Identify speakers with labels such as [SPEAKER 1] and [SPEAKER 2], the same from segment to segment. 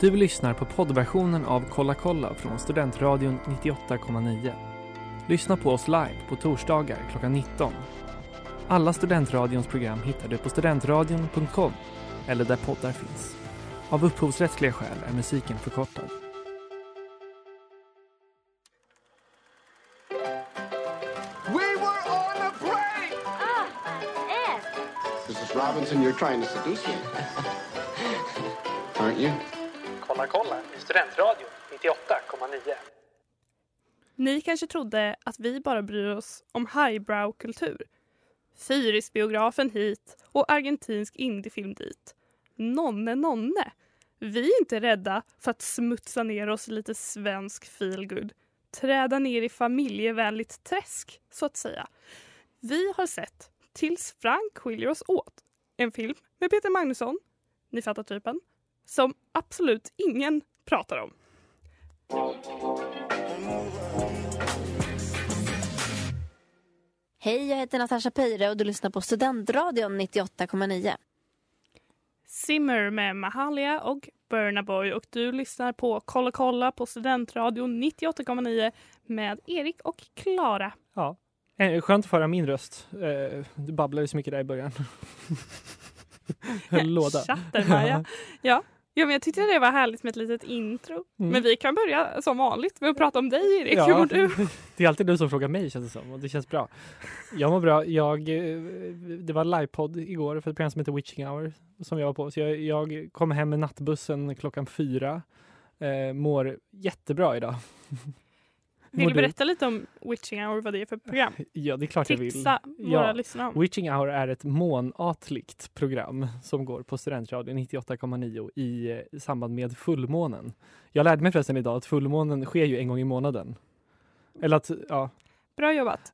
[SPEAKER 1] Du lyssnar på poddversionen av Kolla kolla från Studentradion 98,9. Lyssna på oss live på torsdagar klockan 19. Alla Studentradions program hittar du på studentradion.com eller där poddar finns. Av upphovsrättsliga skäl är musiken förkortad.
[SPEAKER 2] We were on a break! Mrs. Robinson, you're trying to seduce me. Aren't you?
[SPEAKER 1] Kolla kolla i Studentradion 98,9.
[SPEAKER 3] Ni kanske trodde att vi bara bryr oss om highbrow-kultur. Fyrisbiografen hit och argentinsk indiefilm dit. Nonne, nonne. Vi är inte rädda för att smutsa ner oss i lite svensk feelgood. Träda ner i familjevänligt träsk, så att säga. Vi har sett Tills Frank skiljer oss åt. En film med Peter Magnusson, ni fattar typen, som absolut ingen pratar om.
[SPEAKER 4] Hej, jag heter Natasha Peire och du lyssnar på Studentradion 98,9.
[SPEAKER 3] Simmer med Mahalia och Burna Boy och du lyssnar på Kolla kolla på Studentradion 98,9 med Erik och Klara.
[SPEAKER 1] Ja. Eh, Skönt att få höra min röst. Eh, Du babblade så mycket där i början. Höll låda.
[SPEAKER 3] Chatter, Maja. ja. ja, men jag tyckte det var härligt med ett litet intro.
[SPEAKER 1] Mm.
[SPEAKER 3] Men vi kan börja som vanligt med att prata om dig Erik. Hur mår du?
[SPEAKER 1] Det är alltid du som frågar mig känns det som och det känns bra. Jag mår bra. Jag, eh, det var livepodd igår för ett program som heter Witching Hour som jag var på. Så jag, jag kom hem med nattbussen klockan fyra. Eh, mår jättebra idag. Mår
[SPEAKER 3] Vill du berätta lite om Witching Hour, vad det är för program?
[SPEAKER 1] Ja, det är klart jag vill.
[SPEAKER 3] Tipsa våra
[SPEAKER 1] Ja.
[SPEAKER 3] lyssnare om.
[SPEAKER 1] Witching Hour är ett månatligt program som går på Studentradion 98,9 i eh, samband med fullmånen. Jag lärde mig förresten idag att fullmånen sker ju en gång i månaden. Eller att, ja.
[SPEAKER 3] Bra jobbat.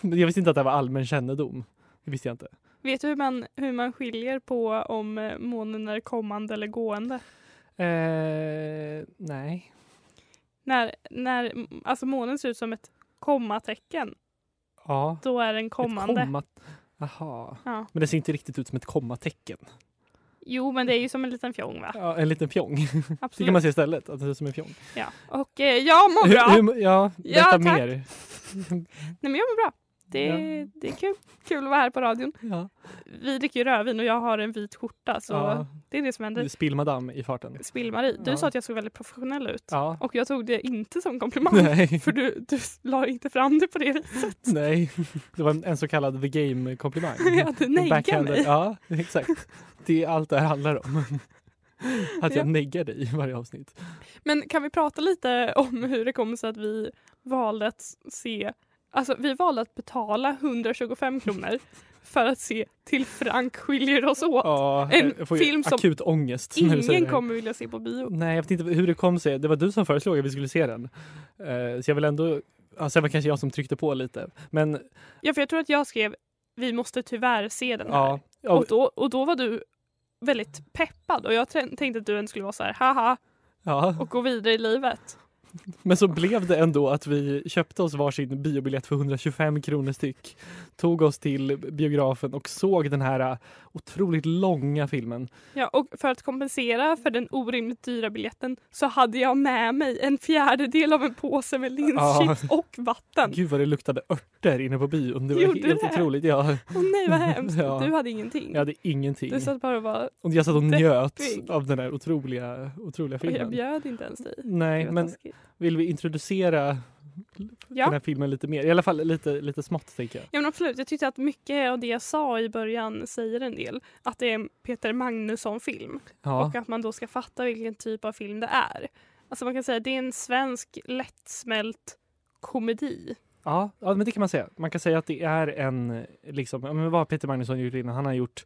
[SPEAKER 1] Men Jag visste inte att det här var allmän kännedom. Det visste jag inte.
[SPEAKER 3] Vet du hur man, hur man skiljer på om eh, månen är kommande eller gående?
[SPEAKER 1] Eh, nej.
[SPEAKER 3] När, när m- alltså månen ser ut som ett kommatecken,
[SPEAKER 1] Ja.
[SPEAKER 3] då är den kommande.
[SPEAKER 1] Ett komma... Aha.
[SPEAKER 3] Ja.
[SPEAKER 1] Men det ser inte riktigt ut som ett kommatecken.
[SPEAKER 3] Jo, men det är ju som en liten fjong, va?
[SPEAKER 1] Ja, en liten fjong. Det
[SPEAKER 3] Absolut.
[SPEAKER 1] kan man se istället, att det ser ut som en fjong.
[SPEAKER 3] Ja. Och eh, jag mår bra.
[SPEAKER 1] Hur- hur- ja,
[SPEAKER 3] Ja,
[SPEAKER 1] berätta
[SPEAKER 3] tack.
[SPEAKER 1] mer.
[SPEAKER 3] Nej, men jag mår bra. Det,
[SPEAKER 1] Ja.
[SPEAKER 3] det är kul. kul att vara här på radion.
[SPEAKER 1] Ja.
[SPEAKER 3] Vi dricker ju rödvin och jag har en vit skjorta, så
[SPEAKER 1] Ja.
[SPEAKER 3] det är det som händer.
[SPEAKER 1] Spillmadam i farten.
[SPEAKER 3] Spill-Marie, du
[SPEAKER 1] Ja.
[SPEAKER 3] sa att jag såg väldigt professionell ut.
[SPEAKER 1] Ja.
[SPEAKER 3] Och jag tog det inte som komplimang,
[SPEAKER 1] Nej.
[SPEAKER 3] för du, du la inte fram det på det viset.
[SPEAKER 1] Nej, det var en- en så kallad the game-komplimang.
[SPEAKER 3] Ja, du neggar
[SPEAKER 1] Backhanded.
[SPEAKER 3] mig.
[SPEAKER 1] Ja, exakt. Det är allt det här handlar om. Att
[SPEAKER 3] Ja.
[SPEAKER 1] jag neggar dig i varje avsnitt.
[SPEAKER 3] Men kan vi prata lite om hur det kommer sig att vi valde att se... Alltså vi valde att betala 125 kronor för att se Till Frank skiljer oss åt.
[SPEAKER 1] Ja,
[SPEAKER 3] En
[SPEAKER 1] jag får ju
[SPEAKER 3] film som
[SPEAKER 1] akut ångest. när du säger
[SPEAKER 3] Ingen
[SPEAKER 1] det.
[SPEAKER 3] kommer vilja se på bio.
[SPEAKER 1] Nej, jag vet inte hur det kom sig. Det var du som föreslog att vi skulle se den. Eh, så jag vill ändå... Ja, sen var det kanske jag som tryckte på lite. Men
[SPEAKER 3] Ja, för jag tror att jag skrev vi måste tyvärr se den här.
[SPEAKER 1] ja, ja,
[SPEAKER 3] Och, då, och då var du väldigt peppad och jag trä- tänkte att du ens skulle vara så här haha
[SPEAKER 1] ja.
[SPEAKER 3] och gå vidare i livet.
[SPEAKER 1] Men så blev det ändå att vi köpte oss varsin biobiljett för 125 kronor styck. Tog oss till biografen och såg den här eh, otroligt långa filmen.
[SPEAKER 3] Ja, och för att kompensera för den orimligt dyra biljetten så hade jag med mig en fjärdedel av en påse med linschips och vatten.
[SPEAKER 1] Gud vad det luktade örter inne på bion. Det var
[SPEAKER 3] Gjorde
[SPEAKER 1] helt
[SPEAKER 3] det?
[SPEAKER 1] otroligt. Ja,
[SPEAKER 3] Åh nej vad hemskt.
[SPEAKER 1] Ja.
[SPEAKER 3] Du hade ingenting.
[SPEAKER 1] jag hade ingenting.
[SPEAKER 3] Du satt bara och bara,
[SPEAKER 1] Och jag satt och njöt
[SPEAKER 3] Deppig.
[SPEAKER 1] av den här otroliga, otroliga
[SPEAKER 3] "Oj, jag
[SPEAKER 1] filmen.
[SPEAKER 3] bjöd inte ens dig. Det
[SPEAKER 1] Nej,
[SPEAKER 3] var
[SPEAKER 1] men
[SPEAKER 3] taskigt.
[SPEAKER 1] vill vi introducera den
[SPEAKER 3] ja.
[SPEAKER 1] här filmen lite mer? I alla fall lite, lite smått tänker jag.
[SPEAKER 3] ja, men absolut. Jag tyckte att mycket av det jag sa i början säger en del. Att det är en Peter Magnusson-film
[SPEAKER 1] Ja,
[SPEAKER 3] och att man då ska fatta vilken typ av film det är. Alltså man kan säga att det är en svensk lättsmält komedi.
[SPEAKER 1] ja, ja, men det kan man säga. Man kan säga att det är en, liksom, ja, men vad har Peter Magnusson gjort innan? Han har gjort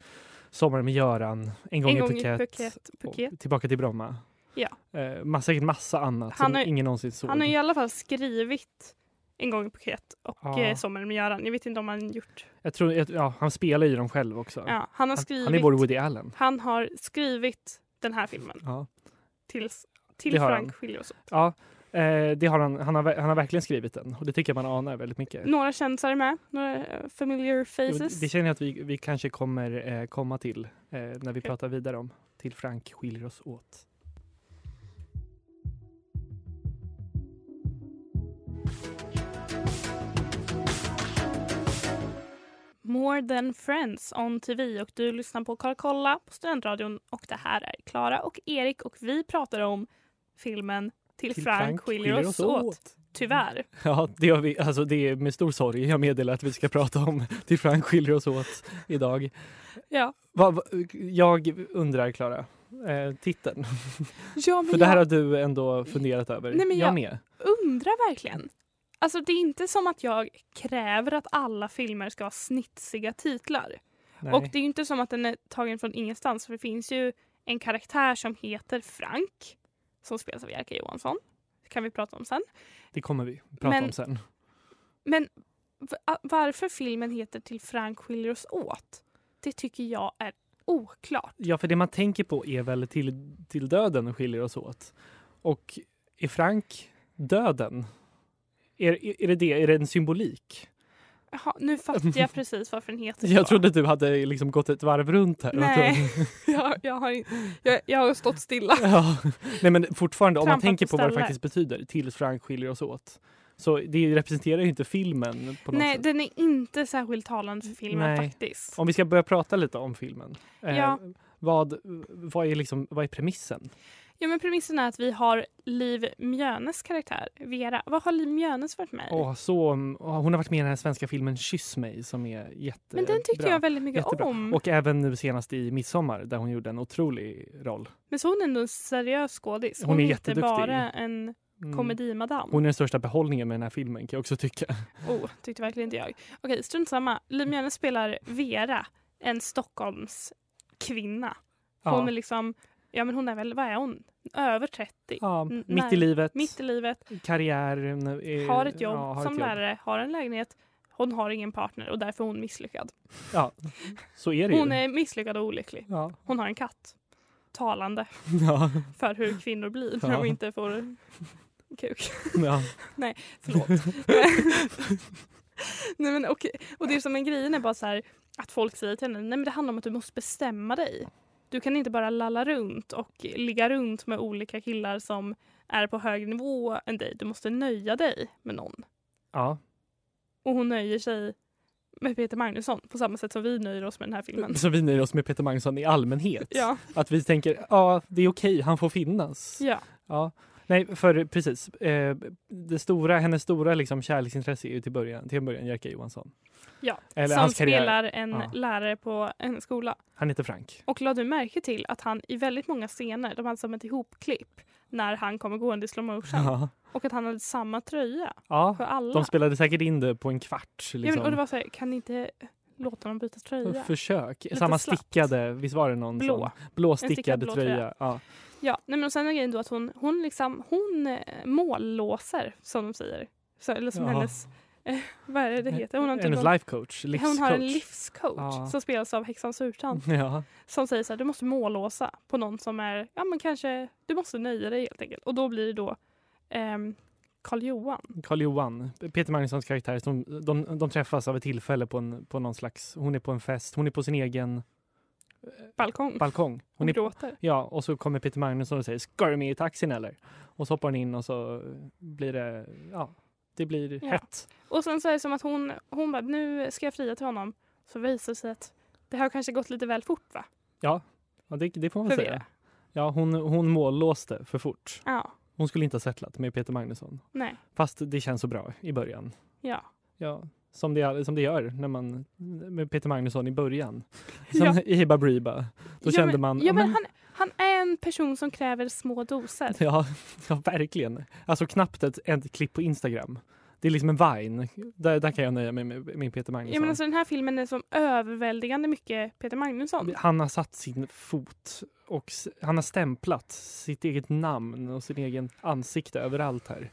[SPEAKER 1] Sommaren med Göran, En gång,
[SPEAKER 3] en gång
[SPEAKER 1] i Phuket,
[SPEAKER 3] i Phuket. Phuket.
[SPEAKER 1] och Tillbaka till Bromma.
[SPEAKER 3] Ja.
[SPEAKER 1] Eh, massa, säkert massa annat
[SPEAKER 3] Han
[SPEAKER 1] som
[SPEAKER 3] har-
[SPEAKER 1] ingen någonsin såg.
[SPEAKER 3] Han har i alla fall skrivit En gång i Phuket och
[SPEAKER 1] Ja.
[SPEAKER 3] eh, Sommaren med Göran. Jag vet inte om han gjort...
[SPEAKER 1] jag tror, jag, ja, han spelar ju dem själv också.
[SPEAKER 3] Ja, han
[SPEAKER 1] Han-
[SPEAKER 3] har skrivit...
[SPEAKER 1] Han är vår Woody Allen.
[SPEAKER 3] Han har skrivit den här filmen
[SPEAKER 1] Ja.
[SPEAKER 3] tills, till
[SPEAKER 1] Det har
[SPEAKER 3] Frank
[SPEAKER 1] han.
[SPEAKER 3] skiljer oss åt.
[SPEAKER 1] Ja, eh, det har han, han, har, ver- han har verkligen skrivit den och det tycker jag man anar väldigt mycket.
[SPEAKER 3] Några kändisar är med, några eh, familiar
[SPEAKER 1] Jo,
[SPEAKER 3] faces.
[SPEAKER 1] Det känner jag att vi, vi kanske kommer eh, komma till eh, när vi pratar vidare om Till Frank skiljer oss åt.
[SPEAKER 3] More than friends on TV och du lyssnar på Kolla kolla på Studentradion och det här är Klara och Erik och vi pratar om filmen Till, Frank, skiljer oss åt. Tyvärr.
[SPEAKER 1] Ja, det gör vi. Alltså, det är med stor sorg jag meddelar att vi ska prata om Till Frank skiljer oss åt idag.
[SPEAKER 3] Ja.
[SPEAKER 1] Va, va, jag undrar, Klara, eh, titeln.
[SPEAKER 3] Ja,
[SPEAKER 1] För det här har du ändå funderat över.
[SPEAKER 3] Nej, men
[SPEAKER 1] jag
[SPEAKER 3] jag-
[SPEAKER 1] med.
[SPEAKER 3] undrar verkligen. Alltså det är inte som att jag kräver att alla filmer ska ha snitsiga titlar.
[SPEAKER 1] Nej.
[SPEAKER 3] Och det är ju inte som att den är tagen från ingenstans för det finns ju en karaktär som heter Frank som spelas av Jerka Johansson. Det kan vi prata om sen.
[SPEAKER 1] Det kommer vi prata
[SPEAKER 3] Men-
[SPEAKER 1] om sen.
[SPEAKER 3] Men v- a- varför filmen heter Till Frank skiljer oss åt, det tycker jag är oklart.
[SPEAKER 1] Ja, för det man tänker på är väl till, till döden skiljer oss åt. Och är Frank döden? Är, är- är det det? Är det en symbolik?
[SPEAKER 3] Jaha, nu fattar jag precis varför den heter så.
[SPEAKER 1] Jag trodde att du hade liksom gått ett varv runt här. och att du-
[SPEAKER 3] Nej, jag, jag, har, in- jag, jag har stått stilla.
[SPEAKER 1] Ja. Nej men fortfarande om man
[SPEAKER 3] Trampat
[SPEAKER 1] tänker
[SPEAKER 3] på
[SPEAKER 1] på vad det
[SPEAKER 3] ställe.
[SPEAKER 1] faktiskt betyder, tills Frank skiljer oss åt. Så det representerar ju inte filmen på något
[SPEAKER 3] Nej,
[SPEAKER 1] sätt.
[SPEAKER 3] den är inte särskilt talande för filmen
[SPEAKER 1] alltså. Nej.
[SPEAKER 3] faktiskt.
[SPEAKER 1] Om vi ska börja prata lite om filmen. eh,
[SPEAKER 3] Ja.
[SPEAKER 1] Vad, vad, är liksom, vad är premissen?
[SPEAKER 3] Ja, men premissen är att vi har Liv Mjönes karaktär, Vera. Vad har Liv Mjönes varit med i?
[SPEAKER 1] Åh, så, mm, åh, hon har varit med i den här svenska filmen Kyss mig som är jättebra.
[SPEAKER 3] men den tyckte jag väldigt mycket
[SPEAKER 1] Jättebra.
[SPEAKER 3] om.
[SPEAKER 1] Och även nu senast i Midsommar där hon gjorde en otrolig roll.
[SPEAKER 3] Men så hon är ändå en seriös skådis.
[SPEAKER 1] Hon är
[SPEAKER 3] Hon, är inte
[SPEAKER 1] jätteduktig.
[SPEAKER 3] bara en
[SPEAKER 1] Mm.
[SPEAKER 3] komedimadam.
[SPEAKER 1] Hon är den största behållningen med den här filmen kan jag också tycka.
[SPEAKER 3] Oh, tyckte verkligen inte jag. Okej, strunt samma. Liv Mjönes spelar Vera, en Stockholms kvinna. Hon
[SPEAKER 1] Ja.
[SPEAKER 3] är liksom, ja men hon är väl, vad är hon? Över 30.
[SPEAKER 1] Ja,
[SPEAKER 3] Mm,
[SPEAKER 1] mitt i
[SPEAKER 3] nej.
[SPEAKER 1] livet,
[SPEAKER 3] Mitt i livet,
[SPEAKER 1] karriär. eh,
[SPEAKER 3] har ett jobb
[SPEAKER 1] ja, har
[SPEAKER 3] som
[SPEAKER 1] ett jobb.
[SPEAKER 3] lärare, har en lägenhet. Hon har ingen partner och därför är hon misslyckad.
[SPEAKER 1] Ja, så är det ju.
[SPEAKER 3] Hon är misslyckad och olycklig.
[SPEAKER 1] Ja.
[SPEAKER 3] Hon har en katt. Talande
[SPEAKER 1] Ja.
[SPEAKER 3] för hur kvinnor blir när
[SPEAKER 1] Ja.
[SPEAKER 3] de inte får kuk.
[SPEAKER 1] ja.
[SPEAKER 3] Förlåt. nej, men, okej. Och det som är grejen är bara så här, att folk säger till henne nej men det handlar om att du måste bestämma dig. Du kan inte bara lalla runt och ligga runt med olika killar som är på högre nivå än dig. Du måste nöja dig med någon.
[SPEAKER 1] ja.
[SPEAKER 3] Och hon nöjer sig med Peter Magnusson på samma sätt som vi nöjer oss med den här filmen.
[SPEAKER 1] Så vi nöjer oss med Peter Magnusson i allmänhet.
[SPEAKER 3] Ja,
[SPEAKER 1] Att vi tänker, ja, det är okej, han får finnas.
[SPEAKER 3] ja.
[SPEAKER 1] Ja. Nej, för precis. Eh, det stora, hennes stora liksom, kärleksintresse är ju till, början, till en början Jerka Johansson.
[SPEAKER 3] Ja,
[SPEAKER 1] Eller
[SPEAKER 3] som
[SPEAKER 1] hans karriär.
[SPEAKER 3] spelar en
[SPEAKER 1] Ja.
[SPEAKER 3] lärare på en skola.
[SPEAKER 1] Han heter Frank.
[SPEAKER 3] Och lade du märke till att han i väldigt många scener, de hade som ett ihopklipp när han kommer gående i slow motion
[SPEAKER 1] Ja.
[SPEAKER 3] och att han hade samma tröja
[SPEAKER 1] ja.
[SPEAKER 3] för alla.
[SPEAKER 1] De spelade säkert in det på en kvart.
[SPEAKER 3] ja, men, och det
[SPEAKER 1] Liksom.
[SPEAKER 3] var så här, kan ni inte låta dem byta tröja?
[SPEAKER 1] Försök.
[SPEAKER 3] Lite
[SPEAKER 1] Samma
[SPEAKER 3] slappt.
[SPEAKER 1] stickade, visst var det någon
[SPEAKER 3] Blå.
[SPEAKER 1] sån? Blå
[SPEAKER 3] stickad
[SPEAKER 1] stickade
[SPEAKER 3] blå
[SPEAKER 1] tröja.
[SPEAKER 3] tröja.
[SPEAKER 1] Ja.
[SPEAKER 3] Ja, nej, men och sen är grejen då att hon, hon, liksom, hon eh, mållåser, som de säger. Så, eller som
[SPEAKER 1] Ja.
[SPEAKER 3] hennes, eh, vad är det det heter? Hon har, typ
[SPEAKER 1] Hennes
[SPEAKER 3] någon,
[SPEAKER 1] life coach, livscoach.
[SPEAKER 3] hon har en livscoach
[SPEAKER 1] Ja. Mhm.
[SPEAKER 3] som spelas av häxan Surtan.
[SPEAKER 1] Ja.
[SPEAKER 3] som säger så här, du måste mållåsa på någon som är, ja men kanske, du måste nöja dig helt enkelt. Och då blir det då ehm, Karl-Johan.
[SPEAKER 1] Karl-Johan, Peter Magnussons karaktär, som de, de träffas av ett tillfälle på, en, på någon slags... Hon är på en fest, hon är på sin egen
[SPEAKER 3] Balkong.
[SPEAKER 1] balkong.
[SPEAKER 3] Hon
[SPEAKER 1] Hon är,
[SPEAKER 3] gråter.
[SPEAKER 1] ja, och så kommer Peter Magnusson och säger “Ska du med i taxin eller?” Och så hoppar hon in och så blir det... Ja, det blir
[SPEAKER 3] Ja.
[SPEAKER 1] hett.
[SPEAKER 3] Och sen så är det som att hon, hon bara, nu ska jag fria till honom. Så visar det sig att det har kanske gått lite väl fort va?
[SPEAKER 1] Ja, det, det får man
[SPEAKER 3] För
[SPEAKER 1] väl
[SPEAKER 3] Vera.
[SPEAKER 1] säga. Ja, hon, hon mållåste för fort.
[SPEAKER 3] Ja,
[SPEAKER 1] Hon skulle inte ha settlat med Peter Magnusson.
[SPEAKER 3] nej,
[SPEAKER 1] Fast det känns så bra i början.
[SPEAKER 3] ja.
[SPEAKER 1] Ja, som det, som det gör när man, med Peter Magnusson i början. Sen
[SPEAKER 3] Ja.
[SPEAKER 1] i Hibba Briba, då
[SPEAKER 3] ja,
[SPEAKER 1] kände
[SPEAKER 3] men,
[SPEAKER 1] man...
[SPEAKER 3] Ja
[SPEAKER 1] "Ja,
[SPEAKER 3] men han, han är en person som kräver små doser.
[SPEAKER 1] Ja, ja verkligen. Alltså knappt ett, ett klipp på Instagram. Det är liksom en Vine. Där, där kan jag nöja mig med min Peter Magnusson.
[SPEAKER 3] Jag menar, alltså, den här filmen är som överväldigande mycket Peter Magnusson.
[SPEAKER 1] Han har satt sin fot och s- han har stämplat sitt eget namn och sin egen ansikte överallt här.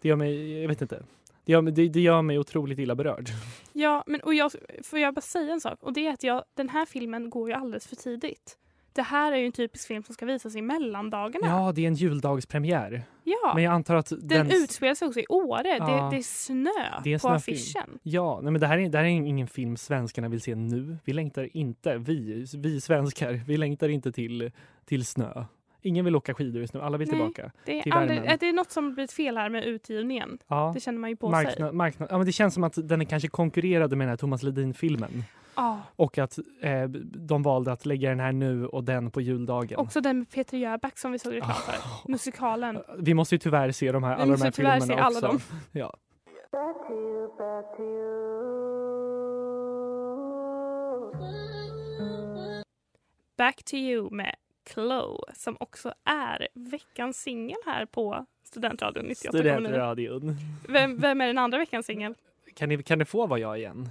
[SPEAKER 1] Det gör mig, jag vet inte. Det gör, mig- det, det gör mig otroligt illa berörd.
[SPEAKER 3] Ja, men och jag, får jag bara säga en sak? Och det är att jag, den här filmen går ju alldeles för tidigt. Det här är ju en typisk film som ska visas i mellandagarna.
[SPEAKER 1] Ja, det är en juldagspremiär.
[SPEAKER 3] Ja,
[SPEAKER 1] Men jag antar att den...
[SPEAKER 3] den, utspelar sig också i Åre.
[SPEAKER 1] Ja.
[SPEAKER 3] Det, det är snö
[SPEAKER 1] Det är en
[SPEAKER 3] på
[SPEAKER 1] snöfilm.
[SPEAKER 3] affischen.
[SPEAKER 1] Ja, nej men det här, är, det här är ingen film svenskarna vill se nu. Vi längtar inte, vi, vi svenskar, vi längtar inte till, till snö Ingen vill åka skidor just nu, alla vill
[SPEAKER 3] Nej.
[SPEAKER 1] tillbaka.
[SPEAKER 3] Det
[SPEAKER 1] Till
[SPEAKER 3] är, aldrig,
[SPEAKER 1] värmen.
[SPEAKER 3] äh, det är något som blivit fel här med utgivningen.
[SPEAKER 1] Ja.
[SPEAKER 3] Det känner man ju på sig.
[SPEAKER 1] Marknad, marknad. Ja, men det känns som att den kanske konkurrerade med den här Thomas Ledin-filmen.
[SPEAKER 3] Ja,
[SPEAKER 1] Och att eh, de valde att lägga den här nu och den på juldagen.
[SPEAKER 3] också den med Peter Jöback som vi såg reklam för. Musikalen.
[SPEAKER 1] Vi måste ju tyvärr se de här, alla
[SPEAKER 3] Vi
[SPEAKER 1] de
[SPEAKER 3] måste
[SPEAKER 1] här
[SPEAKER 3] tyvärr
[SPEAKER 1] filmerna
[SPEAKER 3] se alla
[SPEAKER 1] också.
[SPEAKER 3] dem.
[SPEAKER 1] Ja.
[SPEAKER 3] Back to you med Chloe som också är veckans singel här på Studentradion 98,9.
[SPEAKER 1] Studentradion.
[SPEAKER 3] Vem, vem är den andra veckans singel?
[SPEAKER 1] Kan, ni- kan det få vara jag igen?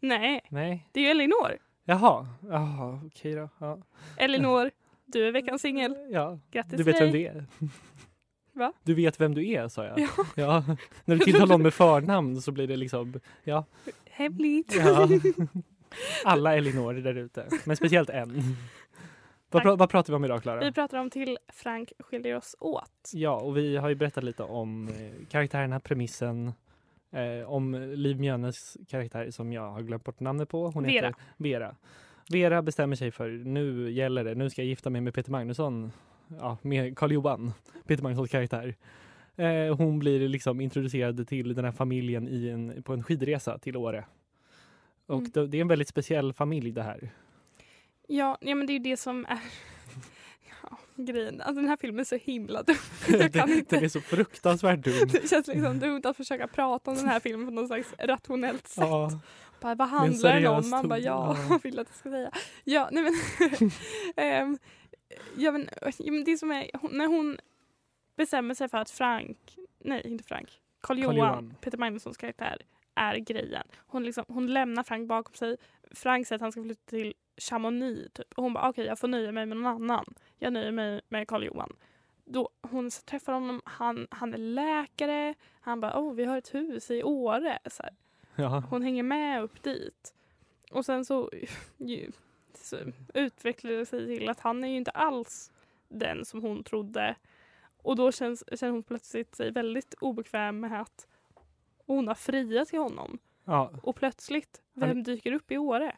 [SPEAKER 3] Nej,
[SPEAKER 1] Nej?
[SPEAKER 3] det är ju Elinor.
[SPEAKER 1] Jaha, Jaha okej då. Ja.
[SPEAKER 3] Elinor, du är veckans singel.
[SPEAKER 1] Ja.
[SPEAKER 3] Grattis
[SPEAKER 1] Du vet
[SPEAKER 3] till
[SPEAKER 1] vem
[SPEAKER 3] dig.
[SPEAKER 1] det är?
[SPEAKER 3] Va?
[SPEAKER 1] Du vet vem du är, sa jag.
[SPEAKER 3] Ja.
[SPEAKER 1] Ja. När du tilltalar någon med förnamn så blir det liksom... Ja.
[SPEAKER 3] Hemligt.
[SPEAKER 1] ja. Alla Elinorer där ute, men speciellt en. Vad,
[SPEAKER 3] Tack.
[SPEAKER 1] pra- vad pratar vi om idag,
[SPEAKER 3] Vi
[SPEAKER 1] Klara?
[SPEAKER 3] pratar om till Frank skiljer oss åt.
[SPEAKER 1] Ja, och vi har ju berättat lite om eh, karaktärerna, premissen, eh, om Liv Mjönnes karaktär som jag har glömt bort namnet på. Hon
[SPEAKER 3] Vera.
[SPEAKER 1] heter Vera. Vera bestämmer sig för nu gäller det, nu ska jag gifta mig med Peter Magnusson, ja, med Karl Johan, Peter Magnussons karaktär. Eh, hon blir liksom introducerad till den här familjen i en, på en skidresa till Åre. Och
[SPEAKER 3] Mm.
[SPEAKER 1] det, det är en väldigt speciell familj det här.
[SPEAKER 3] Ja, ja men det är ju det som är ja, grejen. Alltså, den här filmen är så himla dum. Jag kan
[SPEAKER 1] Den, den
[SPEAKER 3] inte.
[SPEAKER 1] är så fruktansvärt dum.
[SPEAKER 3] Det känns liksom dumt att försöka prata om den här filmen på något slags rationellt sätt.
[SPEAKER 1] Ja,
[SPEAKER 3] Bara, vad handlar den om?
[SPEAKER 1] seriös
[SPEAKER 3] Man bara,
[SPEAKER 1] ton,
[SPEAKER 3] ja,
[SPEAKER 1] ja.
[SPEAKER 3] vad vill du att jag ska säga? Ja, nej men, ehm, ja, men, ja, men det som är, hon- när hon bestämmer sig för att Frank, nej inte Frank, Carl Johan,
[SPEAKER 1] Johan.
[SPEAKER 3] Peter Magnussons karaktär är grejen. Hon, liksom, hon lämnar Frank bakom sig. Frank säger att han ska flytta till Chamonix typ. och hon bara okej jag får nöja mig med någon annan. Jag nöjer mig med Carl Johan. Då hon träffar honom, han, han är läkare, han bara oh vi har ett hus i Åre. Så här
[SPEAKER 1] ja.
[SPEAKER 3] hon hänger med upp dit. Och sen så, så utvecklar det sig till att han är ju inte alls den som hon trodde. Och då känns, känner hon plötsligt sig väldigt obekväm med att hon har friat till honom.
[SPEAKER 1] ja.
[SPEAKER 3] Och plötsligt,
[SPEAKER 1] Han-
[SPEAKER 3] vem dyker upp i Åre?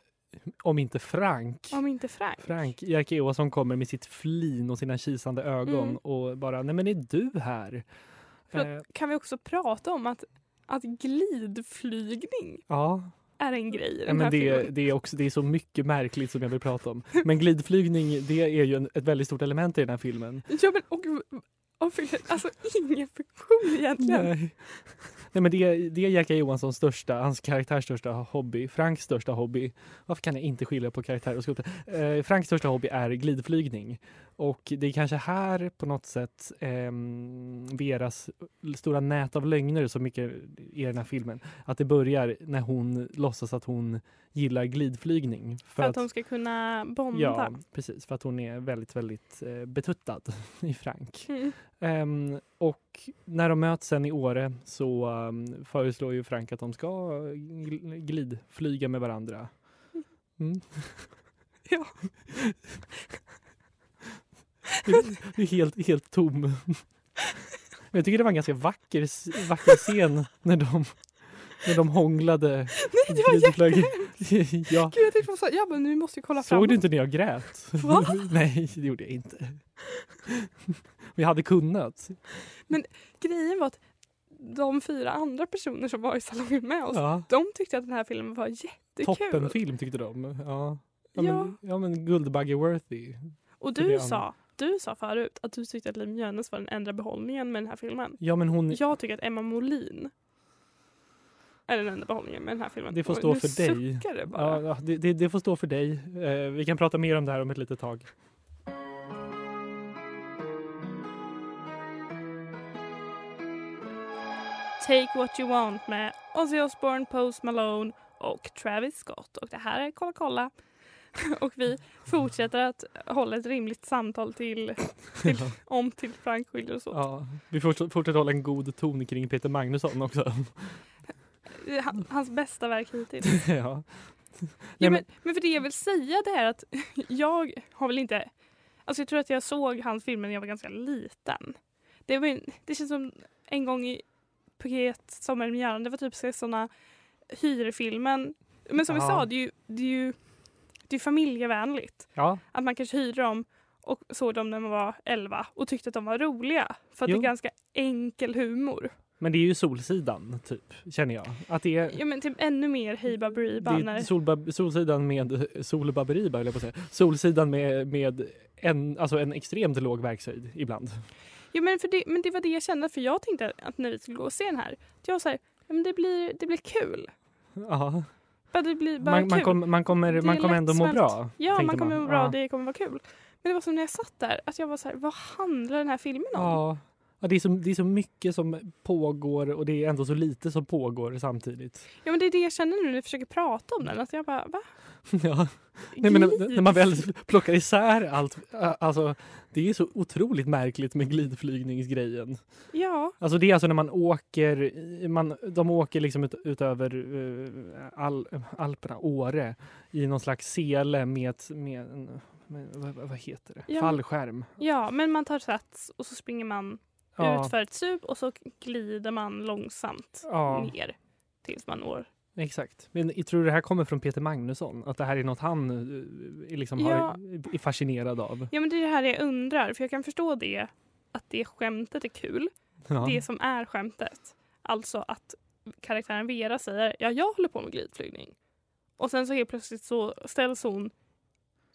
[SPEAKER 1] Om inte Frank.
[SPEAKER 3] Om inte Frank.
[SPEAKER 1] Frank Jerker som kommer med sitt flin och sina kisande ögon
[SPEAKER 3] Mm.
[SPEAKER 1] och bara nej men är du här?
[SPEAKER 3] Förlåt.
[SPEAKER 1] Eh,
[SPEAKER 3] Kan vi också prata om att, att glidflygning
[SPEAKER 1] ja,
[SPEAKER 3] är en grej i
[SPEAKER 1] nej,
[SPEAKER 3] den
[SPEAKER 1] men
[SPEAKER 3] här
[SPEAKER 1] det,
[SPEAKER 3] filmen?
[SPEAKER 1] det, är också, det är så mycket märkligt som jag vill prata om. Men glidflygning det är ju en, ett väldigt stort element i den här filmen.
[SPEAKER 3] Ja men och, och, alltså ingen funktion egentligen.
[SPEAKER 1] Nej. Nej, men det, är- det är Jerker Johanssons största, hans karaktärs största hobby, Franks största hobby. Varför kan jag inte skilja på karaktär och skulptur? Eh, Franks största hobby är glidflygning. Och det är kanske här på något sätt ehm, Veras stora nät av lögner så mycket i den här filmen. Att det börjar när hon låtsas att hon gillar glidflygning.
[SPEAKER 3] För att hon ska kunna bomba.
[SPEAKER 1] Ja, precis. För att hon är väldigt, väldigt eh, betuttad i Frank.
[SPEAKER 3] Mm.
[SPEAKER 1] Ehm, och när de möts sen i Åre så ehm, föreslår ju Frank att de ska eh, gl- glidflyga med varandra. Mm.
[SPEAKER 3] Ja.
[SPEAKER 1] Du, du är helt, helt tom. Men jag tycker det var en ganska vacker, s- vacker scen när de, när de hånglade.
[SPEAKER 3] Nej, det var
[SPEAKER 1] glidflög.
[SPEAKER 3] jättehemskt.
[SPEAKER 1] ja.
[SPEAKER 3] Gud, jag tyckte det var så... Ja, men nu måste vi kolla
[SPEAKER 1] Såg
[SPEAKER 3] framåt.
[SPEAKER 1] du inte när jag grät?
[SPEAKER 3] Va?
[SPEAKER 1] Nej, det gjorde jag inte. Vi hade kunnat.
[SPEAKER 3] Grejen var att de fyra andra personer som var i salongen med oss,
[SPEAKER 1] Ja.
[SPEAKER 3] de tyckte att den här filmen var jättekul.
[SPEAKER 1] Toppenfilm tyckte de. Ja. Ja,
[SPEAKER 3] Ja.
[SPEAKER 1] Men, ja men Guldbagge-worthy.
[SPEAKER 3] Och
[SPEAKER 1] Det är
[SPEAKER 3] du
[SPEAKER 1] han.
[SPEAKER 3] sa, du sa förut att du tyckte att Liv Mjönes var den enda behållningen med den här filmen.
[SPEAKER 1] Ja men hon,
[SPEAKER 3] Jag tycker att Emma Molin är den enda behållningen med den här filmen.
[SPEAKER 1] det får
[SPEAKER 3] Oj,
[SPEAKER 1] stå
[SPEAKER 3] nu
[SPEAKER 1] för dig.
[SPEAKER 3] suckar det bara.
[SPEAKER 1] Ja, ja, det, det, det får stå för dig. Eh, vi kan prata mer om det här om ett litet tag.
[SPEAKER 3] Take What You Want med Ozzy Osbourne, Post Malone och Travis Scott. Och det här är Kolla kolla. Och vi fortsätter att hålla ett rimligt samtal till, till om till Frank skiljer oss åt.
[SPEAKER 1] Ja. Vi forts- fortsätter hålla en god ton kring Peter Magnusson också.
[SPEAKER 3] Det är han- Hans bästa verk hittills.
[SPEAKER 1] ja.
[SPEAKER 3] Ja,
[SPEAKER 1] Nej,
[SPEAKER 3] men, men för det jag vill säga det är att jag har väl inte... Alltså jag tror att jag såg hans filmer när jag var ganska liten. Det, var, en- det känns som en gång i Puket sommarmjärn, det var typ så- såna hyrfilmen. Men som vi
[SPEAKER 1] Ja.
[SPEAKER 3] sa, det är ju, det är ju det är familjevänligt.
[SPEAKER 1] ja.
[SPEAKER 3] Att man kanske hyr dem och såg dem när man var 11 och tyckte att de var roliga. För att
[SPEAKER 1] Jo.
[SPEAKER 3] det är ganska enkel humor.
[SPEAKER 1] Men det är ju Solsidan, typ, känner jag. Att det är,
[SPEAKER 3] Ja, men typ ännu mer Hej
[SPEAKER 1] det
[SPEAKER 3] Baberiba.
[SPEAKER 1] är
[SPEAKER 3] när-
[SPEAKER 1] solba, Solsidan med Solbaberiba, höll jag på att säga. Solsidan med, med en, alltså en extremt låg verkshöjd ibland.
[SPEAKER 3] Ja, men, för det, men det var det jag kände för jag tänkte att när vi skulle gå och se den här. Att jag var så här, ja, men det blir, det blir kul.
[SPEAKER 1] Ja.
[SPEAKER 3] Bara det blir bara
[SPEAKER 1] Man, man,
[SPEAKER 3] kul.
[SPEAKER 1] kom, man
[SPEAKER 3] Det
[SPEAKER 1] kommer,
[SPEAKER 3] är
[SPEAKER 1] man kommer ändå må
[SPEAKER 3] lättsmält.
[SPEAKER 1] bra.
[SPEAKER 3] ja,
[SPEAKER 1] tänkte
[SPEAKER 3] man kommer må bra
[SPEAKER 1] Ja.
[SPEAKER 3] och det kommer vara kul. Men det var som när jag satt där, att jag var så här, vad handlar den här filmen om?
[SPEAKER 1] Ja. Ja, det, är så, det är så mycket som pågår och det är ändå så lite som pågår samtidigt.
[SPEAKER 3] Ja, men det är det jag känner nu när vi försöker prata om den. Att jag bara, va?
[SPEAKER 1] Ja. Nej, men när,
[SPEAKER 3] Glid.
[SPEAKER 1] när man väl plockar isär allt. äh, Alltså, det är så otroligt märkligt med glidflygningsgrejen.
[SPEAKER 3] Ja,
[SPEAKER 1] Alltså det är alltså när man åker, man, de åker liksom ut, utöver eh, Al, Alperna, Åre, i någon slags sele med, ett- med, en- med vad, vad heter det?
[SPEAKER 3] Ja.
[SPEAKER 1] Fallskärm.
[SPEAKER 3] ja, men man tar sats och så springer man
[SPEAKER 1] Ja,
[SPEAKER 3] ut för ett sub och så glider man långsamt
[SPEAKER 1] Ja.
[SPEAKER 3] ner tills man når.
[SPEAKER 1] exakt. Men jag tror du det här kommer från Peter Magnusson? Att det här är något han eh, är liksom
[SPEAKER 3] Ja.
[SPEAKER 1] har, är fascinerad av?
[SPEAKER 3] Ja, men det är det här jag undrar, för jag kan förstå det, att det skämtet är kul.
[SPEAKER 1] Ja.
[SPEAKER 3] Det som är skämtet, alltså att karaktären Vera säger ja, jag håller på med glidflygning. Och sen så helt plötsligt så ställs hon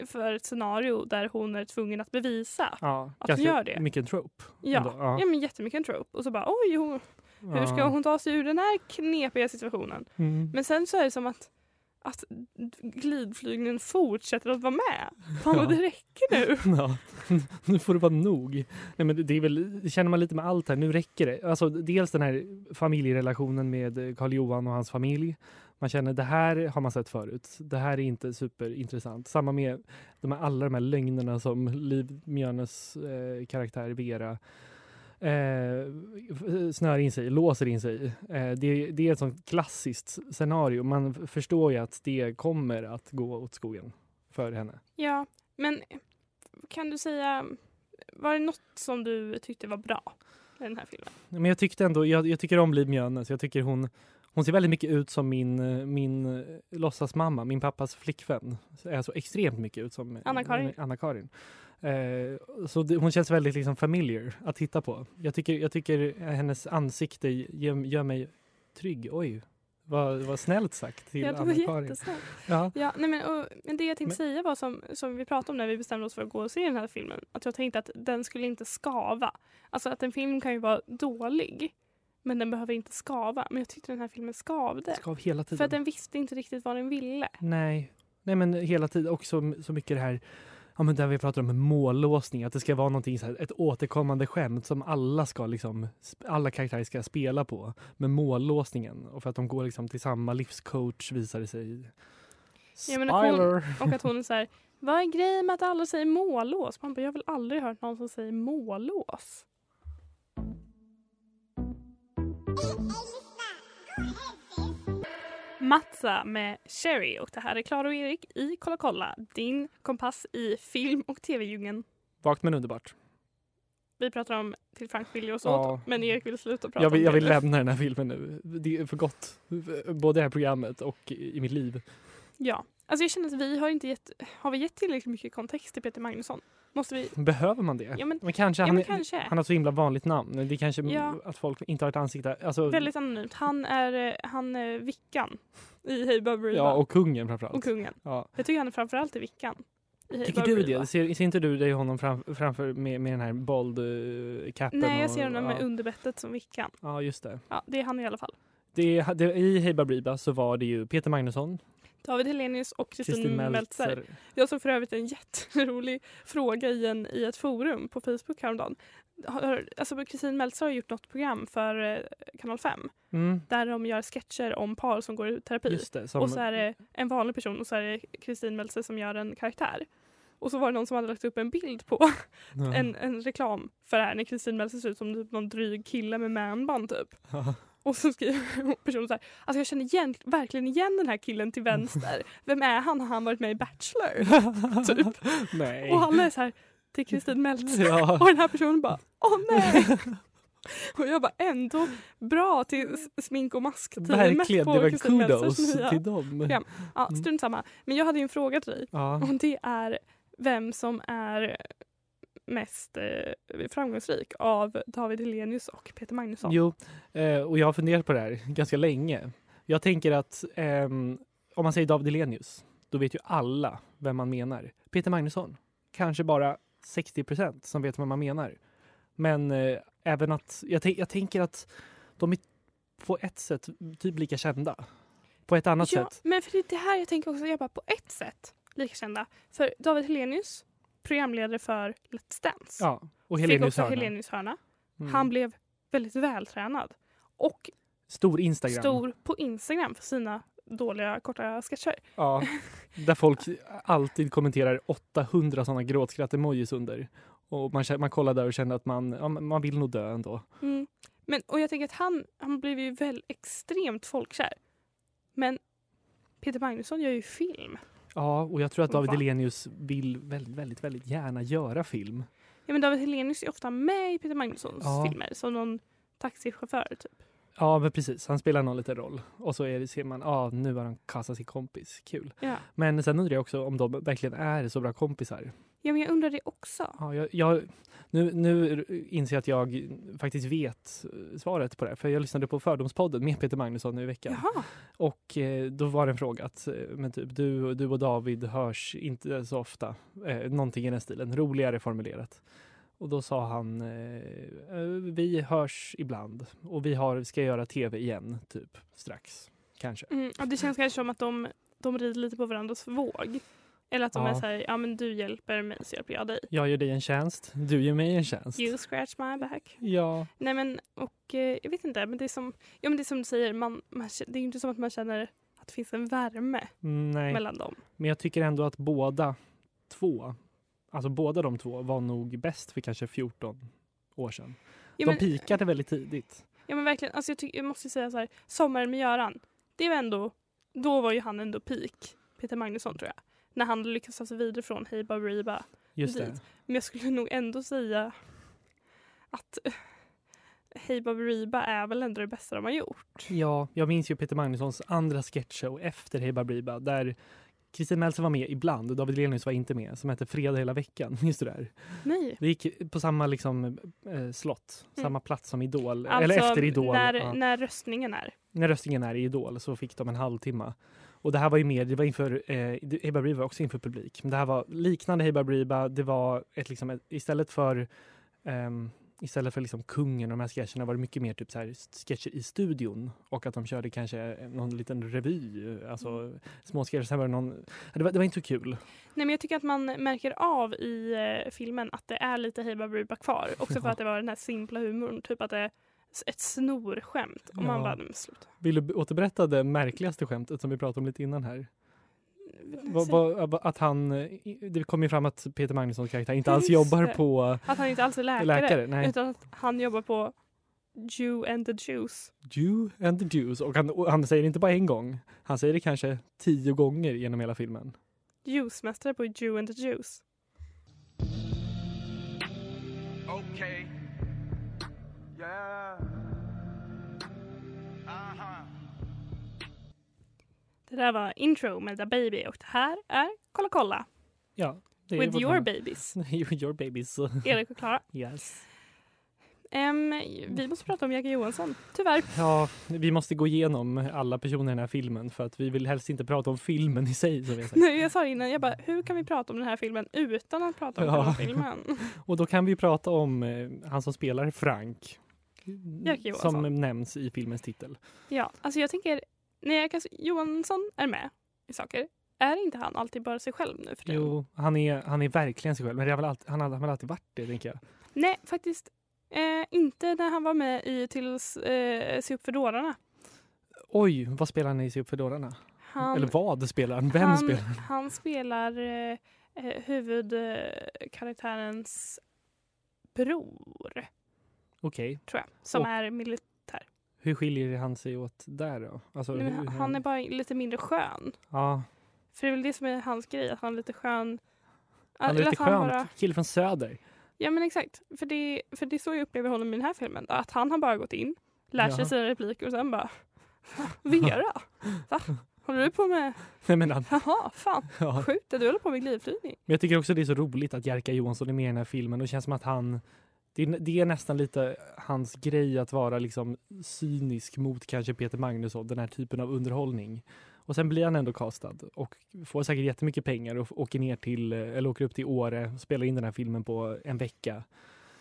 [SPEAKER 3] för ett scenario där hon är tvungen att bevisa.
[SPEAKER 1] Ja,
[SPEAKER 3] Att
[SPEAKER 1] ganska
[SPEAKER 3] hon gör det.
[SPEAKER 1] mycket trope.
[SPEAKER 3] Ja,
[SPEAKER 1] ändå.
[SPEAKER 3] ja men jättemycket en trope. Och så bara oj, hon, hur ska hon ta sig ur den här knepiga situationen?
[SPEAKER 1] Mm.
[SPEAKER 3] Men sen så är det som att, att glidflygningen fortsätter att vara med. Fan vad det räcker nu.
[SPEAKER 1] Ja, nu får det vara nog. Nej, men det, är väl, det känner man lite med allt här, nu räcker det. Alltså, dels den här familjerelationen med Karl Johan och hans familj. Man känner det här har man sett förut. Det här är inte superintressant. Samma med de här, alla de här lögnerna som Liv Mjörnes eh, karaktär Vera eh, f- snör in sig i, låser in sig i. eh, det, det är ett sånt klassiskt scenario. Man f- förstår ju att det kommer att gå åt skogen för henne.
[SPEAKER 3] Ja, men kan du säga, var det något som du tyckte var bra i den här filmen?
[SPEAKER 1] Men jag tyckte ändå, jag, jag tycker om Liv Mjönes. Jag tycker hon, hon ser väldigt mycket ut som min, eh, min eh, låtsasmamma, min pappas flickvän. Så är så extremt mycket ut som eh,
[SPEAKER 3] Anna-Karin.
[SPEAKER 1] Anna-Karin. Eh, så det, hon känns väldigt liksom familiar att titta på. Jag tycker, jag tycker hennes ansikte gör, gör mig trygg. Oj, vad, vad snällt sagt till
[SPEAKER 3] ja, det var
[SPEAKER 1] Anna-Karin.
[SPEAKER 3] jättesnällt.
[SPEAKER 1] Ja.
[SPEAKER 3] Ja, nej, men, och, men det jag tänkte säga var som, som vi pratade om när vi bestämde oss för att gå och se den här filmen. Att jag tänkte att den skulle inte skava. Alltså att en film kan ju vara dålig, men den behöver inte skava. Men jag tyckte den här filmen skavde.
[SPEAKER 1] Skav hela tiden.
[SPEAKER 3] För att den visste inte riktigt vad den ville.
[SPEAKER 1] Nej. Nej, men hela tiden också m- så mycket det här Ja, men där vi pratar om mållåsning, att det ska vara någonting, så här, ett återkommande skämt som alla ska liksom, sp- alla karaktärer ska spela på. Med mållåsningen och för att de går liksom till samma livscoach visar det sig.
[SPEAKER 3] Ja,
[SPEAKER 1] Spoiler!
[SPEAKER 3] men att hon- Och att hon är så här, vad är grejen med att alla säger mållås? Man bara, jag har väl aldrig hört någon som säger mållås. Matsa med Sherry och det här är Klara och Erik i Kolla kolla, din kompass i film och tv-djungeln.
[SPEAKER 1] Vakt men underbart.
[SPEAKER 3] Vi pratar om Till Frank skiljer oss
[SPEAKER 1] Ja.
[SPEAKER 3] åt, men Erik vill sluta prata
[SPEAKER 1] Jag vill,
[SPEAKER 3] om
[SPEAKER 1] jag
[SPEAKER 3] det
[SPEAKER 1] vill
[SPEAKER 3] nu.
[SPEAKER 1] lämna den här filmen nu. Det är för gott. Både det här programmet och i i mitt liv.
[SPEAKER 3] Ja, alltså jag känner att vi har inte gett, har vi gett tillräckligt mycket kontext till Peter Magnusson? Måste vi?
[SPEAKER 1] Behöver man det?
[SPEAKER 3] Ja men,
[SPEAKER 1] Men kanske,
[SPEAKER 3] ja,
[SPEAKER 1] han,
[SPEAKER 3] men
[SPEAKER 1] är-
[SPEAKER 3] kanske.
[SPEAKER 1] han har så himla vanligt namn. Det är kanske
[SPEAKER 3] Ja.
[SPEAKER 1] att folk inte har ett ansikte. Alltså,
[SPEAKER 3] Väldigt anonymt. Han är, eh, han är Vickan i Hey Baberiba.
[SPEAKER 1] Ja,
[SPEAKER 3] och,
[SPEAKER 1] och kungen framförallt.
[SPEAKER 3] kungen.
[SPEAKER 1] ja.
[SPEAKER 3] Jag tycker han är framförallt i Vickan. I Hey
[SPEAKER 1] Tycker du
[SPEAKER 3] Baberiba.
[SPEAKER 1] det? Ser, ser inte du dig honom fram, framför med, med den här bold uh, capen?
[SPEAKER 3] Nej, jag
[SPEAKER 1] och-
[SPEAKER 3] ser honom
[SPEAKER 1] ja.
[SPEAKER 3] med underbettet som Vickan.
[SPEAKER 1] Ja, just det.
[SPEAKER 3] Ja, det är han i alla fall.
[SPEAKER 1] det, är- det I Hey Baberiba så var det ju Peter Magnusson,
[SPEAKER 3] David Helenius och
[SPEAKER 1] Kristin
[SPEAKER 3] Kristin Meltzer.
[SPEAKER 1] Meltzer.
[SPEAKER 3] Jag såg för övrigt en jätterolig fråga i, en, i ett forum på Facebook häromdagen. Har, alltså Kristin Meltzer har gjort något program för eh, Kanal 5
[SPEAKER 1] Mm,
[SPEAKER 3] där de gör sketcher om par som går i terapi.
[SPEAKER 1] just det. Som,
[SPEAKER 3] Och så är det en vanlig person och så är det Kristin Meltzer som gör en karaktär. Och så var det någon som hade lagt upp en bild på
[SPEAKER 1] ja.
[SPEAKER 3] en, en reklam för det här när Kristin Meltzer ser ut som typ någon dryg kille med manband typ.
[SPEAKER 1] Ja.
[SPEAKER 3] Och så skriver personen så här, alltså jag känner igen, verkligen igen den här killen till vänster. Vem är han? Har han varit med i Bachelor? typ.
[SPEAKER 1] Nej.
[SPEAKER 3] Och alla är så här, det är Kristin Meltzer.
[SPEAKER 1] Ja.
[SPEAKER 3] Och den här personen bara, åh nej! Och jag bara, ändå bra till s- smink och maskteamet
[SPEAKER 1] Verkligen, det
[SPEAKER 3] på
[SPEAKER 1] var
[SPEAKER 3] Kristin
[SPEAKER 1] kudos
[SPEAKER 3] Meltzers nya.
[SPEAKER 1] till dem. Mm.
[SPEAKER 3] Ja. Ja, strunt samma. Men jag hade ju en fråga till dig.
[SPEAKER 1] Ja.
[SPEAKER 3] Och det är vem som är mest eh, framgångsrik av David Hellenius och Peter Magnusson.
[SPEAKER 1] Jo, eh, och jag har funderat på det här ganska länge. Jag tänker att ehm, om man säger David Hellenius, då vet ju alla vem man menar. Peter Magnusson, kanske bara 60 procent som vet vad man menar. Men eh, även att, jag, tän- jag tänker att de är på ett sätt typ lika kända. På ett annat
[SPEAKER 3] ja,
[SPEAKER 1] sätt.
[SPEAKER 3] men för det är det här jag tänker också, jag bara på ett sätt lika kända. För David Hellenius, programledare för Let's Dance,
[SPEAKER 1] Ja, och
[SPEAKER 3] fick
[SPEAKER 1] Hellenius
[SPEAKER 3] också
[SPEAKER 1] hörna.
[SPEAKER 3] Hellenius hörna.
[SPEAKER 1] Mm.
[SPEAKER 3] Han blev väldigt vältränad och
[SPEAKER 1] Stor Instagram.
[SPEAKER 3] stor på Instagram för sina dåliga korta sketcher.
[SPEAKER 1] Ja, där folk alltid kommenterar 800 sådana gråtskratt-emojis under. Och man, kä- man kollar där och känner att man, ja, men man vill nog dö ändå.
[SPEAKER 3] Mm. Men, och jag tänker att han, han blev ju väl extremt folkkär. Men Peter Magnusson gör ju film.
[SPEAKER 1] Ja, och jag tror att David
[SPEAKER 3] Va?
[SPEAKER 1] Hellenius vill väldigt, väldigt, väldigt gärna göra film.
[SPEAKER 3] Ja, men David Hellenius är ofta med i Peter Magnussons
[SPEAKER 1] Ja.
[SPEAKER 3] filmer som någon taxichaufför. Typ.
[SPEAKER 1] Ja, men precis. Han spelar någon liten roll. Och så är det, ser man, ja, nu har han kastat sin kompis. Kul.
[SPEAKER 3] Ja.
[SPEAKER 1] Men sen undrar jag också om de verkligen är så bra kompisar.
[SPEAKER 3] ja, men jag undrar det också.
[SPEAKER 1] Ja, jag, jag, nu, nu inser jag att jag faktiskt vet eh, svaret på det. här, För jag lyssnade på Fördomspodden med Peter Magnusson nu i veckan.
[SPEAKER 3] Jaha.
[SPEAKER 1] Och eh, då var det en fråga att eh, men typ, du, du och David hörs inte så ofta. Eh, någonting i den stilen, roligare formulerat. Och då sa han, eh, eh, vi hörs ibland och vi har, ska göra tv igen, typ strax. Kanske.
[SPEAKER 3] Mm, och det känns kanske som att de, de rider lite på varandras våg. Eller att de
[SPEAKER 1] Ja.
[SPEAKER 3] är så här, ja men du hjälper mig så hjälper jag dig.
[SPEAKER 1] Jag gör dig en tjänst, du gör mig en tjänst.
[SPEAKER 3] You scratch my back.
[SPEAKER 1] Ja,
[SPEAKER 3] Nej men och eh, jag vet inte, men det är som, ja, men det är som du säger, man, man, k- det är ju inte som att man känner att det finns en värme
[SPEAKER 1] mm, nej.
[SPEAKER 3] mellan dem.
[SPEAKER 1] Men jag tycker ändå att båda två, alltså båda de två var nog bäst för kanske 14 år sedan. de
[SPEAKER 3] Ja, men,
[SPEAKER 1] pikade väldigt tidigt.
[SPEAKER 3] Ja men verkligen, alltså jag, tycker- jag måste ju säga så här, Sommaren med Göran, det var ändå, då var ju han ändå peak, Peter Magnusson tror jag. När han lyckades ta sig vidare från Hey Baberiba.
[SPEAKER 1] Just det.
[SPEAKER 3] dit. Men jag skulle nog ändå säga att eh, Hey Baberiba är väl ändå det bästa de har gjort.
[SPEAKER 1] Ja, jag minns ju Peter Magnussons andra sketchshow efter Hey Babriba där Kristin Meltzer var med ibland och David Hellenius var inte med som hette Fredag hela veckan. Just det där.
[SPEAKER 3] Nej.
[SPEAKER 1] Det gick på samma liksom, eh, slott,
[SPEAKER 3] Mm.
[SPEAKER 1] samma plats som Idol. eller efter Idol.
[SPEAKER 3] Alltså, När,
[SPEAKER 1] ja.
[SPEAKER 3] när röstningen är.
[SPEAKER 1] när röstningen är i Idol så fick de en halvtimme. Och det här var ju mer, det var inför, eh, det- Hey Babriba var också inför publik. Men det här var liknande Hey Babriba. Det var ett, liksom, ett, istället för ehm, Istället för liksom kungen och de här sketcherna var det mycket mer typ så här sketcher i studion och att de körde kanske någon liten revy, eh, alltså
[SPEAKER 3] Mm.
[SPEAKER 1] små sketcher. Sen var det, någon, det, var, det var inte så kul.
[SPEAKER 3] Nej men jag tycker att man märker av i eh, filmen att det är lite Hey Baberiba kvar. Också för
[SPEAKER 1] Ja.
[SPEAKER 3] att det var den här simpla humorn, typ att det är s- ett snorskämt. Och man
[SPEAKER 1] Ja.
[SPEAKER 3] bara, "Men sluta.
[SPEAKER 1] Vill du b- återberätta det märkligaste skämtet som vi pratade om lite innan här? Va,
[SPEAKER 3] Säg-
[SPEAKER 1] va, va- att han, eh, det kom ju fram att Peter Magnussons karaktär inte alls
[SPEAKER 3] Just
[SPEAKER 1] jobbar
[SPEAKER 3] det.
[SPEAKER 1] på
[SPEAKER 3] Att han inte alls är läkare,
[SPEAKER 1] läkare. Nej.
[SPEAKER 3] utan att han jobbar på Jew and the Jews.
[SPEAKER 1] Jew and the Jews. Och han, och han säger det inte bara en gång. Han säger det kanske tio gånger genom hela filmen.
[SPEAKER 3] Jewsmästare på Jew and the Jews.
[SPEAKER 2] Okay. Yeah. Uh-huh.
[SPEAKER 3] Det där var intro med The Baby och det här är Kolla kolla
[SPEAKER 1] Ja. Det är
[SPEAKER 3] with
[SPEAKER 1] vad
[SPEAKER 3] your
[SPEAKER 1] han-
[SPEAKER 3] babies.
[SPEAKER 1] With your babies.
[SPEAKER 3] Erik och Klara.
[SPEAKER 1] Yes.
[SPEAKER 3] Em, vi måste prata om Jagger Johansson, tyvärr.
[SPEAKER 1] Ja, vi måste gå igenom alla personer i den här filmen för att vi vill helst inte prata om filmen i sig. Som vi har sagt.
[SPEAKER 3] Nej, jag sa det innan, jag bara, hur kan vi prata om den här filmen utan att prata om
[SPEAKER 1] Ja.
[SPEAKER 3] själva filmen?
[SPEAKER 1] Och då kan vi prata om eh, han som spelar Frank.
[SPEAKER 3] Jerker
[SPEAKER 1] Som
[SPEAKER 3] Johansson.
[SPEAKER 1] nämns i filmens titel.
[SPEAKER 3] Ja, alltså jag tänker, när Jagger Johansson är med i saker, är inte han alltid bara sig själv nu för tiden?
[SPEAKER 1] Jo, han är, han är verkligen sig själv. Men det har väl alltid, han har han har väl alltid varit det, tänker jag.
[SPEAKER 3] Nej, faktiskt eh, inte när han var med i Tills eh, Se upp för dårarna.
[SPEAKER 1] Oj, vad spelar han i Se upp för dårarna?
[SPEAKER 3] Han,
[SPEAKER 1] Eller vad spelar han? Vem
[SPEAKER 3] han,
[SPEAKER 1] spelar
[SPEAKER 3] han spelar eh, eh, huvudkaraktärens bror,
[SPEAKER 1] Okej.
[SPEAKER 3] tror jag, som
[SPEAKER 1] Och-
[SPEAKER 3] är militär.
[SPEAKER 1] Hur skiljer han sig åt där då? Alltså,
[SPEAKER 3] Nej, men
[SPEAKER 1] hur-
[SPEAKER 3] han- Han är bara lite mindre skön.
[SPEAKER 1] Ja,
[SPEAKER 3] För det är väl det som är hans grej, att han är lite skön.
[SPEAKER 1] han är
[SPEAKER 3] Eller
[SPEAKER 1] lite
[SPEAKER 3] att
[SPEAKER 1] skön.
[SPEAKER 3] bara-
[SPEAKER 1] Kille från söder.
[SPEAKER 3] Ja men exakt. För det, för det är så jag upplever honom i den här filmen. Att han har bara gått in, lärt sig
[SPEAKER 1] Ja.
[SPEAKER 3] sina repliker och sen bara Vera? Va? Håller du på med...
[SPEAKER 1] Nej, men, att-
[SPEAKER 3] Jaha, fan.
[SPEAKER 1] ja.
[SPEAKER 3] Sjukt att du håller på med glidflygning.
[SPEAKER 1] men jag tycker också det är så roligt att Jerka Johansson är med i den här filmen. Det känns som att han... Det är, det är nästan lite hans grej att vara liksom cynisk mot kanske Peter Magnusson, den här typen av underhållning. Och sen blir han ändå castad och får säkert jättemycket pengar och f- åker ner till, eller åker upp till Åre, spelar in den här filmen på en vecka.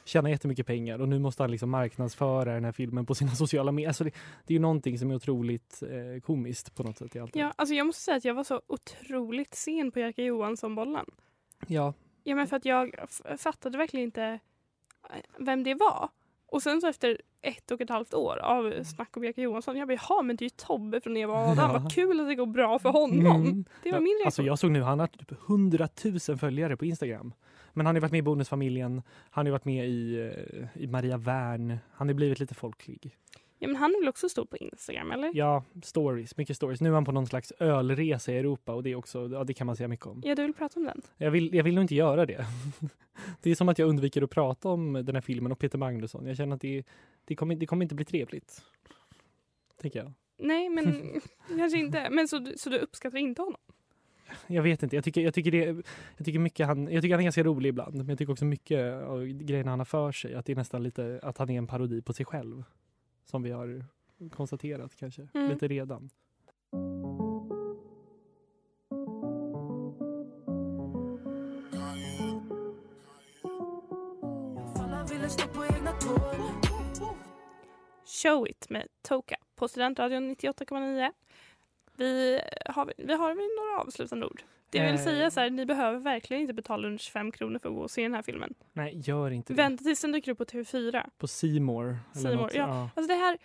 [SPEAKER 1] Tjänar jättemycket pengar och nu måste han liksom marknadsföra den här filmen på sina sociala medier. Alltså det, det är ju någonting som är otroligt eh, komiskt på något sätt i allt det här.
[SPEAKER 3] Ja, alltså jag måste säga att jag var så otroligt sen på Jerka Johansson-bollen.
[SPEAKER 1] ja,
[SPEAKER 3] Ja, men för att jag f- fattade verkligen inte eh, vem det var. Och sen så efter ett och ett halvt år av snack om Jerka Johansson, jag bara jaha, men det är ju Tobbe från Eva och Adam.
[SPEAKER 1] Ja.
[SPEAKER 3] Vad kul att det går bra för honom.
[SPEAKER 1] Mm.
[SPEAKER 3] Det var min reaktion.
[SPEAKER 1] Alltså jag såg nu, han har typ 100 000 följare på Instagram. Men han har ju varit med i Bonusfamiljen, han har ju varit med i, eh, i Maria Wern, han har blivit lite folklig.
[SPEAKER 3] Ja, men han är väl också stor på Instagram, eller? Ja,
[SPEAKER 1] Ja, stories, mycket stories. Nu är han på någon slags ölresa i Europa och det är också, ja det kan man säga mycket om.
[SPEAKER 3] du vill prata om den?
[SPEAKER 1] Jag vill, jag vill nog inte göra det. Det är som att jag undviker att prata om den här filmen och Peter Magnusson. Jag känner att det, det, kommer, det kommer inte bli trevligt. Tänker jag.
[SPEAKER 3] Nej, men kanske inte. Men så, du- så du uppskattar inte honom?
[SPEAKER 1] Jag vet inte. Jag tycker, jag tycker, det, jag tycker, mycket han, jag tycker han är ganska rolig ibland. Men jag tycker också mycket av grejerna han har för sig. Att det är nästan lite att han är en parodi på sig själv. Som vi har konstaterat kanske.
[SPEAKER 3] Mm.
[SPEAKER 1] Lite redan.
[SPEAKER 3] Show It med Toka på Studentradion 98,9. Vi har, vi har väl några avslutande ord. Det jag vill
[SPEAKER 1] Eh.
[SPEAKER 3] säga så här, ni behöver verkligen inte betala under 25 kronor för att gå och se den här filmen.
[SPEAKER 1] Nej, gör inte det.
[SPEAKER 3] Vänta tills den dyker upp på TV4.
[SPEAKER 1] På Simor.
[SPEAKER 3] C More, ja. Alltså det här,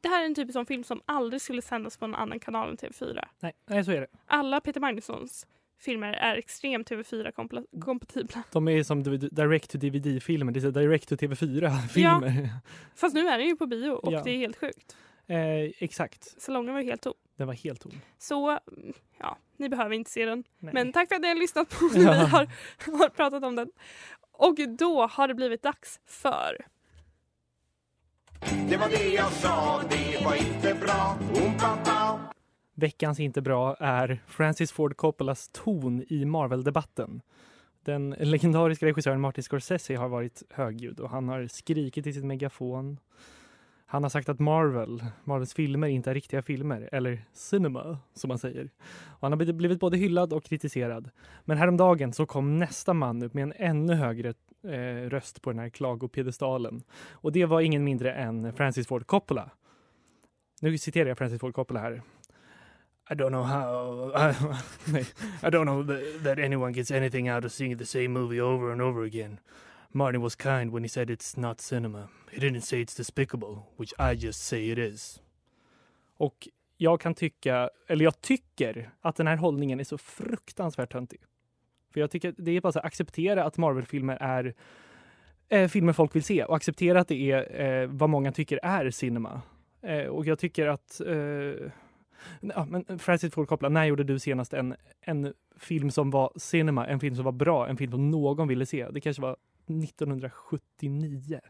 [SPEAKER 3] det här är en typ av sån film som aldrig skulle sändas på någon annan kanal än TV4.
[SPEAKER 1] Nej, nej, så är det.
[SPEAKER 3] Alla Peter Magnussons filmer är extremt TV4-kompatibla.
[SPEAKER 1] De är som du- direct to DVD-filmer. Det är så direct to TV4-filmer.
[SPEAKER 3] Fast nu är den ju på bio och
[SPEAKER 1] Ja.
[SPEAKER 3] det är helt sjukt.
[SPEAKER 1] Eh, exakt.
[SPEAKER 3] Salongen var ju helt tom.
[SPEAKER 1] Den var helt tom.
[SPEAKER 3] Så mm, ja, ni behöver inte se den.
[SPEAKER 1] Nej.
[SPEAKER 3] Men tack för att ni har lyssnat på när vi har, har pratat om den. Och då har det blivit dags för...
[SPEAKER 2] Det var det jag sa, det var inte bra. Oom-pa-pa.
[SPEAKER 1] veckans inte bra är Francis Ford Coppolas ton i Marvel-debatten. Den legendariska regissören Martin Scorsese har varit högljudd och han har skrikit i sin megafon. Han har sagt att Marvel, Marvels filmer inte är riktiga filmer, eller cinema som man säger. Och han har blivit- blivit både hyllad och kritiserad. Men häromdagen så kom nästa man upp med en ännu högre eh, röst på den här klagopedestalen. Och det var ingen mindre än Francis Ford Coppola. Nu citerar jag Francis Ford Coppola här. I don't know how. I, I don't know that, that anyone gets anything out of seeing the same movie over and over again. Martin was kind when he said it's not cinema. He didn't say it's despicable, which I just say it is. Och jag kan tycka, eller jag tycker att den här hållningen är så fruktansvärt töntig. För jag tycker att det är bara så här, acceptera att Marvel-filmer är eh, filmer folk vill se och acceptera att det är eh, vad många tycker är cinema. Eh, och jag tycker att eh, Ja, men eh, Francis Ford Coppola, när gjorde du senast en, en film som var cinema, en film som var bra, en film som någon ville se? Det kanske var 1979.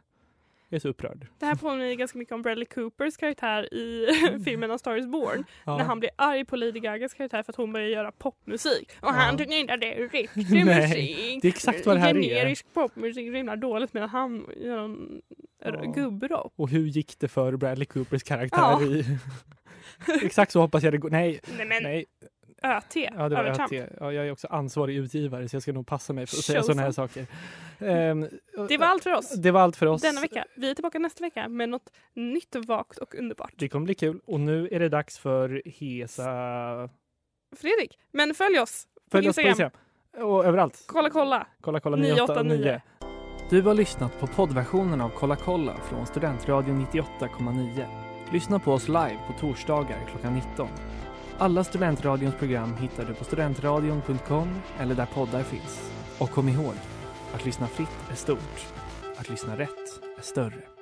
[SPEAKER 1] Jag är så upprörd.
[SPEAKER 3] Det här påminner ganska mycket om Bradley Coopers karaktär i filmen A Star is Born.
[SPEAKER 1] Mm. Ja.
[SPEAKER 3] När han blir arg på Lady Gagas karaktär för att hon börjar göra popmusik. Och han
[SPEAKER 1] Ja.
[SPEAKER 3] tycker inte att det är riktig
[SPEAKER 1] Nej,
[SPEAKER 3] musik.
[SPEAKER 1] det är exakt vad det här är.
[SPEAKER 3] Generisk popmusik rimlar dåligt medan han gör en
[SPEAKER 1] Ja.
[SPEAKER 3] ja. gubbrock.
[SPEAKER 1] Och hur gick det för Bradley Coopers karaktär
[SPEAKER 3] Ja.
[SPEAKER 1] i... Exakt så hoppas jag det går. Nej,
[SPEAKER 3] Nej men
[SPEAKER 1] nej.
[SPEAKER 3] ÖT,
[SPEAKER 1] Ja, det var
[SPEAKER 3] övertramp.
[SPEAKER 1] ÖT. Ja, jag är också ansvarig utgivare så jag ska nog passa mig för att säga sådana här saker. Ehm,
[SPEAKER 3] Det var allt för oss.
[SPEAKER 1] det var allt för oss.
[SPEAKER 3] Denna vecka. Vi är tillbaka nästa vecka med något nytt, vagt och underbart.
[SPEAKER 1] Det kommer bli kul och nu är det dags för Hesa...
[SPEAKER 3] Fredrik, men följ oss.
[SPEAKER 1] Följ oss på Instagram
[SPEAKER 3] Instagram.
[SPEAKER 1] och överallt.
[SPEAKER 3] Kolla, kolla.
[SPEAKER 1] Kolla kolla
[SPEAKER 3] 989.
[SPEAKER 1] 989.
[SPEAKER 5] Du har lyssnat på poddversionen av Kolla kolla från Studentradion 98,9. Lyssna på oss live på torsdagar klockan 19. Alla Studentradions program hittar du på studentradion.com eller där poddar finns. Och kom ihåg, att lyssna fritt är stort. Att lyssna rätt är större.